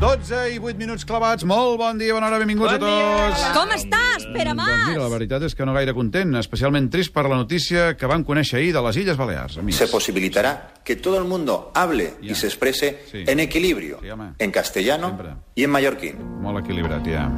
12 i 8 minuts clavats. Molt bon dia, bona hora, benvinguts Bon a tots. dia. Com estàs, Pere Mas? Doncs mira, la veritat és que no gaire content, especialment trist per la notícia que vam conèixer ahir de les Illes Balears, amics. se posibilitará que todo el mundo hable Ya. y se exprese Sí. en equilibrio, Sí, hombre. en castellano Siempre. y en mallorquín. Molt equilibrat, ja.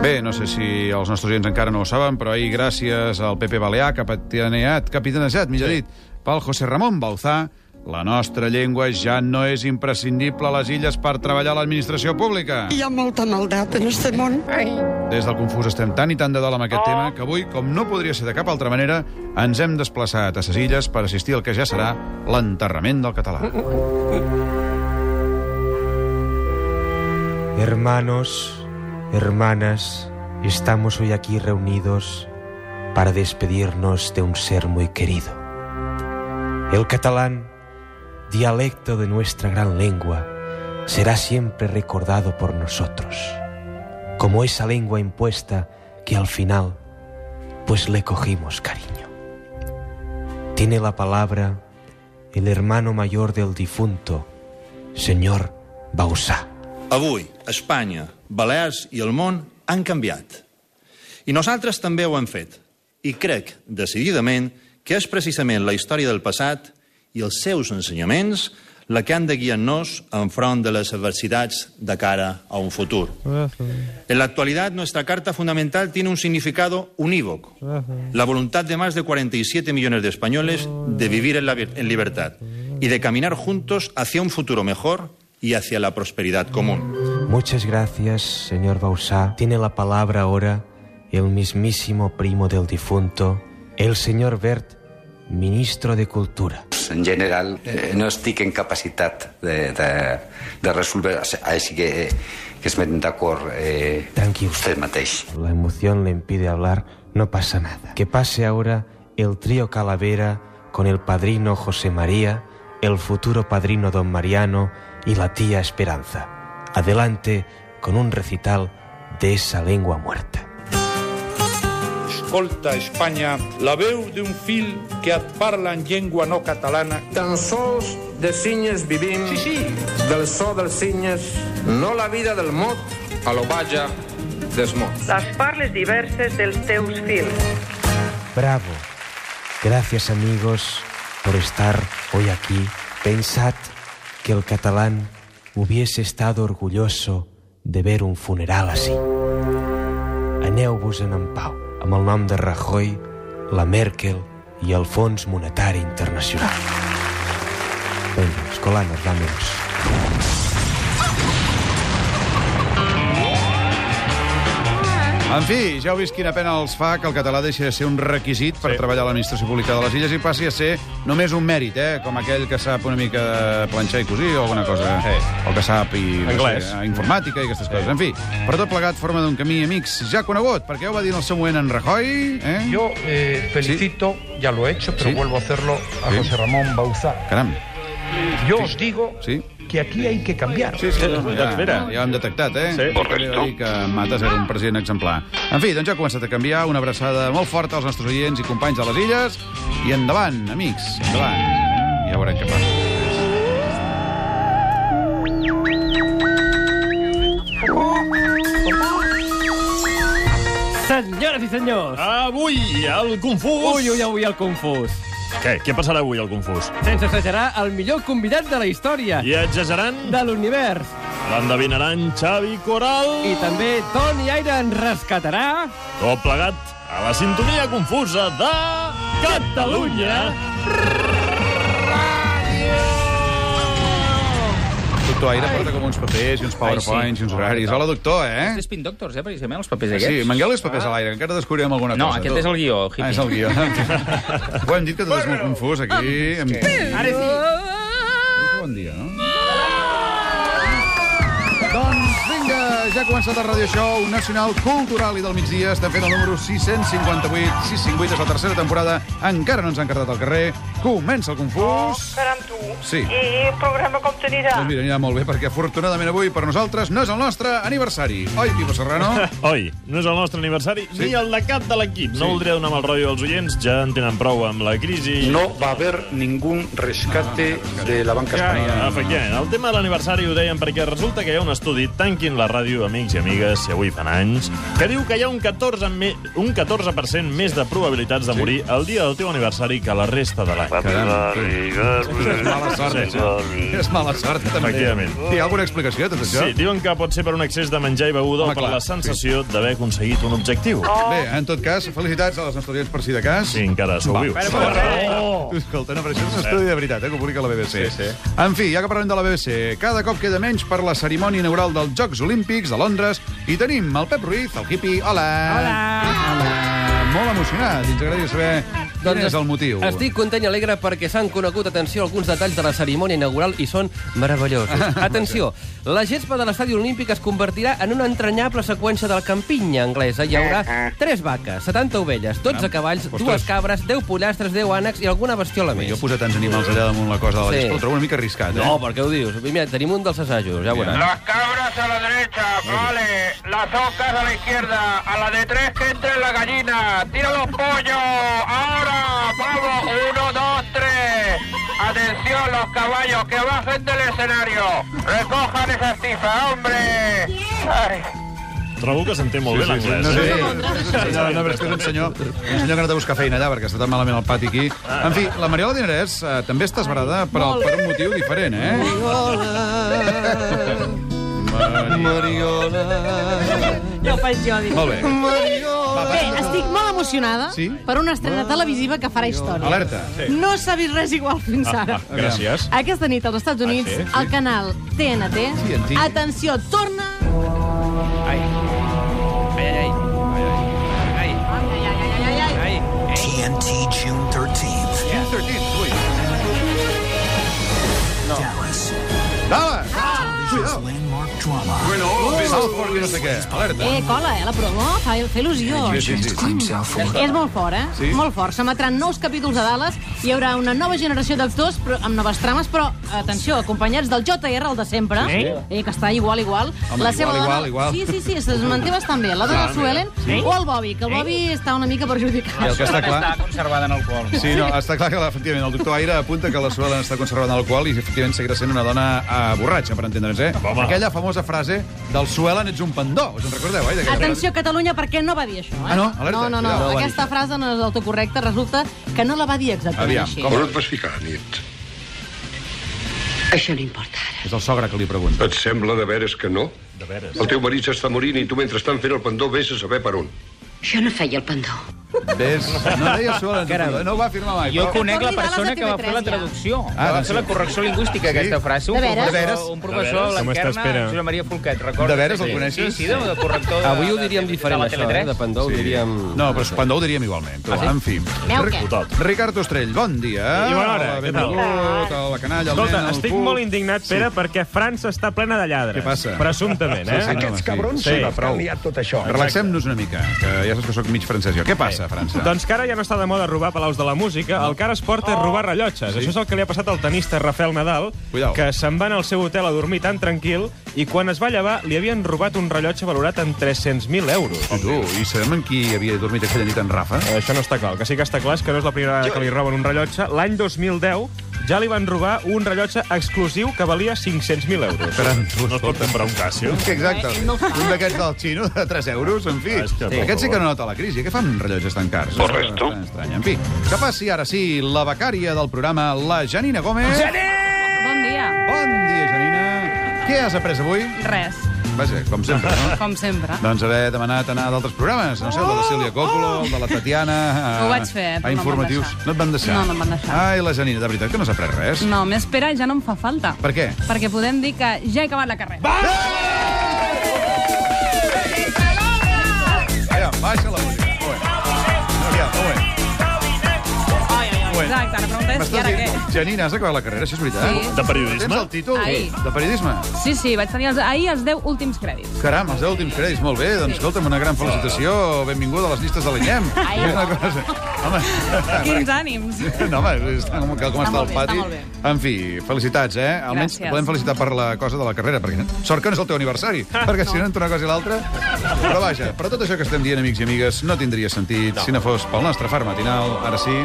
Bé, no sé si els nostres oients encara no ho saben, però ahir, gràcies al PP Balear, capitaneat, capitanejat, millor sí. dit, pel José Ramon Bauzá, la nostra llengua ja no és imprescindible a les illes per treballar a l'administració pública. Hi ha molta maldat en este món. Ai. Des del Confús estem tan i tan de dalt amb aquest tema que avui, com no podria ser de cap altra manera, ens hem desplaçat a ses illes per assistir al que ja serà l'enterrament del català. Hermanos, hermanas, estamos hoy aquí reunidos para despedirnos de un ser muy querido. El catalán, dialecto de nuestra gran lengua, será siempre recordado por nosotros, como esa lengua impuesta que al final, pues le cogimos cariño. Tiene la palabra el hermano mayor del difunto, señor Bausá. Avui, Espanya, Balears i el món han canviat. I nosaltres també ho hem fet. I crec, decididament, que és precisament la història del passat i els seus ensenyaments la que han de guiar-nos enfront de les adversitats de cara a un futur. En la actualidad, nuestra Carta Fundamental tiene un significado unívoco. La voluntad de más de 47 millones de españoles de vivir en, la vi- en libertad y de caminar juntos hacia un futuro mejor y hacia la prosperidad común. Muchas gracias, señor Bausá. Tiene la palabra ahora el mismísimo primo del difunto, el señor Bert, ministro de Cultura. en general eh, no estic en capacitat de, de, de resoldre, així que, eh, que estem d'acord eh, Tranquil. vostè mateix. La emoción le impide hablar, no pasa nada. Que pase ahora el trío Calavera con el padrino José María, el futuro padrino Don Mariano y la tía Esperanza. Adelante con un recital de esa lengua muerta. escolta Espanya la veu d'un fill que et parla en llengua no catalana. Tan sols de cinyes vivim, sí, sí. del so dels cinyes, no la vida del mot, a l'obaja desmot. les parles diverses dels teus fills. Bravo. Gracias amigos por estar hoy aquí. Pensad que el catalán hubiese estado orgulloso de ver un funeral así. Aneu-vos en en pau, amb el nom de Rajoy, la Merkel i el Fons Monetari Internacional. Vinga, escolanos, vamos. En fi, ja heu vist quina pena els fa que el català deixi de ser un requisit per sí. treballar a l'administració pública de les Illes i passi a ser només un mèrit, eh? com aquell que sap una mica de planxar i cosir o alguna cosa. Sí. O que sap i, no Anglès. Sé, informàtica i aquestes coses. En fi, per tot plegat, forma d'un camí, amics, ja conegut, perquè ja ho va dir en el seu moment en Rajoy. Eh? Yo eh, felicito, ya lo he hecho, pero Sí. vuelvo a hacerlo, a Sí. José Ramón Bauzá. Caram. Yo os digo Sí. que aquí hay que cambiar. Sí, sí, no, Eh, ja, mira. ja ho hem detectat, eh? Sí. Correcto. Que Matas era un president exemplar. En fi, doncs ja ha començat a canviar. Una abraçada molt forta als nostres oients i companys de les illes. I endavant, amics, endavant. Ja veurem què passa. Senyores i senyors! Avui, el confús... Ui, ui, avui el confús. Què? Què passarà avui, el confús? Sense exagerar, el millor convidat de la història, I exagerant, de l'univers. l'endevinaran Xavi Coral... I també Toni Aire ens rescatarà... Tot plegat a la sintonia confusa de... Catalunya! Doctor Aire porta com uns papers i uns powerpoints i uns horaris. Hola, doctor, eh? És Spin Doctors, eh, precisament, els papers aquests. Ah. Sí, mangueu els papers a l'aire, que encara descobrirem alguna No, cosa. aquest tu. és el guió, hippie. Ah, és el guió. Ho hem dit que tot és molt confús, aquí. Amb... Ara sí. Bon dia, no? Doncs vinga, ja ha començat el Radio Show Nacional Cultural i del migdia. Estem fent el número 658. 658 és la tercera temporada. Encara no ens han cartat al carrer. Comença el confús. Caram, tu. Sí. I el programa com t'anirà? Doncs mira, anirà molt bé, perquè afortunadament avui per nosaltres no és el nostre aniversari. Oi, Pipo Serrano? Oi, no és el nostre aniversari sí. ni el de cap de l'equip. Sí. No voldria donar mal rotllo als oients, ja en tenen prou amb la crisi. No va haver ningún rescate de la banca Ah, española. Efectivament, el tema de l'aniversari ho deien perquè resulta que hi ha un estudi, tanquin la ràdio, amics i amigues, si avui fan anys, que diu que hi ha un 14, me, un 14 més de probabilitats de morir el dia del teu aniversari que la resta de l'any. És mala sort, això. És mala sort, també. Efectivament. Té alguna explicació, tot això? Sí, diuen que pot ser per un excés de menjar i beguda Home, o per clar, Oh. la sensació sí. d'haver aconseguit un objectiu. Bé, en tot cas, felicitats a les nostres audients per si de cas. Sí, encara sou Va. vius. Oh! Escolta, no, però això és un estudi de veritat, eh, que ho publica la BBC. Sí, sí. En fi, ja que parlem de la BBC, cada cop queda menys per la cerimònia inaugural dels Jocs Olímpics de Londres i tenim el Pep Ruiz, el hippie. Hola! Hola! Hola. Molt emocionat. Ens agradaria saber Doncs quin és el motiu. Estic content i alegre perquè s'han conegut, atenció, alguns detalls de la cerimònia inaugural i són meravellosos. Atenció, la gespa de l'estadi olímpic es convertirà en una entranyable seqüència del campinya anglesa. Hi haurà Ah, 3 vaques, 70 ovelles, 12 cavalls, ostres. 2 cabres, 10 pollastres, 10 ànecs i alguna bestiola més. Jo posar tants animals allà damunt la cosa de la Sí. sí. gespa ho trobo una mica arriscat, eh? No, per què ho dius? Mira, tenim un dels assajos, ja ho veuràs. Las cabras a la derecha, vale. Las ocas a la izquierda. A la de tres que entre la gallina. Tira los pollos. Ahora, vamos. Uno, dos, tres. Atención, los caballos que bajen del escenario. Recojan esas tifas, hombre. Ay. Trobo que s'entén molt Sí, bé sí, sí. l'anglès. No, sí, eh? sí. No, no, però és que és un senyor, un senyor que no té buscar feina allà, perquè està tan malament al pati aquí. En fi, la Mariola Dinerès eh, també està esbarada, però per un motiu diferent, eh? Mariola. Mariola. Ja ho faig jo, dic. Molt bé. Bé, estic molt emocionada Sí? Ah. per una estrena televisiva que farà història. Alerta. Sí. No s'ha vist res igual fins Ah, ara. ah, gràcies. Aquesta nit als Estats Units, Ah, sí? al canal TNT, TNT. atenció, torna... Ai. Ai, ai, ai. Ai, ai, ai. TNT June 13th. June 13th, wait. No. Dallas. Dallas! Television's landmark drama. Bueno, oh, Southport, que no sé què. Alerta. Eh, cola, eh, la promo, fa, fa il·lusió. Eh, És molt fort, eh? Sí? Molt fort. S'emetran nous capítols a Dallas, hi haurà una nova generació d'actors però amb noves trames, però, atenció, acompanyats del JR, el de sempre, Sí? eh, que està igual, igual. Home, igual, igual, igual. Sí, sí, sí, es manté bastant bé. La dona Sí. sí. Suelen Sí? o el Bobby, que el Bobby està una mica perjudicat. I el que està clar- Està conservada en alcohol. Sí, no, està clar que, efectivament, el doctor Aire apunta que la Suelen està conservant alcohol i, efectivament, seguirà sent una dona eh, borratxa, per entendre'ns, eh? Home. Aquella famosa frase del Suelen ets un pendó, us en recordeu, eh? d'aquella frase? Atenció, Catalunya, perquè no va dir això, eh? Ah, no? Alerta. no, no, no. Cuidado. Aquesta frase no és del tot correcta. Resulta que no la va dir exactament així. On et vas ficar, nit? Això no importa. És el sogre que li pregunta. Et sembla de veres que no? De veres. El teu marit s'està morint i tu mentrestant fent el pendó vés a saber per on. Jo no feia el pendó. Ves, no deia Suelen, Caram. no ho va afirmar mai. Jo però- conec la persona que va fer la traducció. Ah, Ah, va sí. fer la correcció lingüística, Sí? aquesta frase. Un De veres? professor, un De professor veres? Com està, l'Encarna, espera? Josep Maria Folquet, recorda. De veres, el Sí, coneixes? Sí, sí, de, de corrector de, Avui ho de- diríem de- diferent, de la això, eh? Tele3. De pendó ho diríem... No, però pendó ho diríem igualment. Però, Ah, sí? En fi. Veu què? Ric- Ricard Ostrell, bon dia. I bona hora, què tal? Benvingut, a la canalla, al Escolta, nen, al estic puc. molt indignat, Pere, sí. perquè França està plena de lladres. Què passa? Presumptament, eh? Sí, sí, no, sí. Relaxem-nos una mica, que ja saps que sóc mig francès jo. Què passa, a França? Doncs que ara ja no està de moda robar palaus de la música, el que ara es porta és robar rellotges. Això és el que li ha passat al tenista Rafael Nadal, Cuidao. que se'n va anar al seu hotel a dormir tan tranquil i quan es va llevar li havien robat un rellotge valorat en 300.000 euros. Eh, I tu, i sabem en qui havia dormit aquella nit en Rafa? Això no està clar. El que sí que està clar és que no és la primera vegada que li roben un rellotge. L'any 2010 ja li van robar un rellotge exclusiu que valia 500.000 euros. Però, no es pot comprar un Casio. Exacte. Un d'aquests del xino de 3 euros, en fi. Hòstia, Sí. per Aquest sí que favor. no nota la crisi. Què fan rellotges tan cars? Correcto. Estrany. En fi, que passi ara sí la becària del programa, la Janina Gómez. Bon dia. Bon dia, Janina. Què has après avui? Res, Vaja, com sempre, no? com sempre. Doncs haver demanat anar a d'altres programes. No sé, el de la Sílvia Còpolo, el de la Tatiana... Oh, Ho a- vaig fer, però no A em van informatius. deixar. No et van deixar? No, no em van deixar. Ai, la Janina, de veritat, que no s'ha après res. No, més Pere ja no em fa falta. Per què? Perquè podem dir que ja he acabat la carrera. Aviam, baixa la música. Un moment. Aviam, un moment. Un moment. Exacte, la pregunta és, i M'estàs ara què? dient, Janina, has acabat la carrera, això és veritat? Sí. De periodisme? Tens el títol? Ahir. De periodisme? Sí, sí, vaig tenir els, ahir els 10 últims crèdits. Caram, els 10 últims crèdits, molt bé. Doncs escolta'm, una gran felicitació. Benvinguda a les llistes de l'INEM. Ai, És una cosa... Home... Quins ànims. No, home, està, com, com està, Està molt el bé, pati. està molt bé. en fi, felicitats, eh? Almenys Gràcies. podem felicitar per la cosa de la carrera, perquè sort que no és el teu aniversari, perquè si no entre una cosa i l'altra... Però vaja, però tot això que estem dient, amics i amigues, no tindria sentit si no fos pel nostre far matinal, ara sí.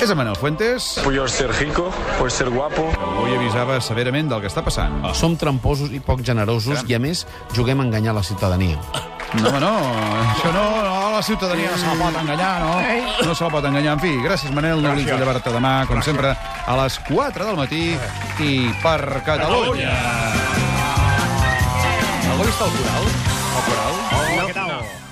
És en Manel Fuentes. Puedo ser rico, puedo ser guapo. Avui avisava severament del que està passant. Som tramposos i poc generosos i, a més, juguem a enganyar la ciutadania. No, home, no, això no, no, la ciutadania no se la pot enganyar, no? No se la pot enganyar. En fi, gràcies, Manel, no oblidis de llevar-te demà, com sempre, a les 4 del matí i per Catalunya. Algú ha vist el coral? El coral? Què tal?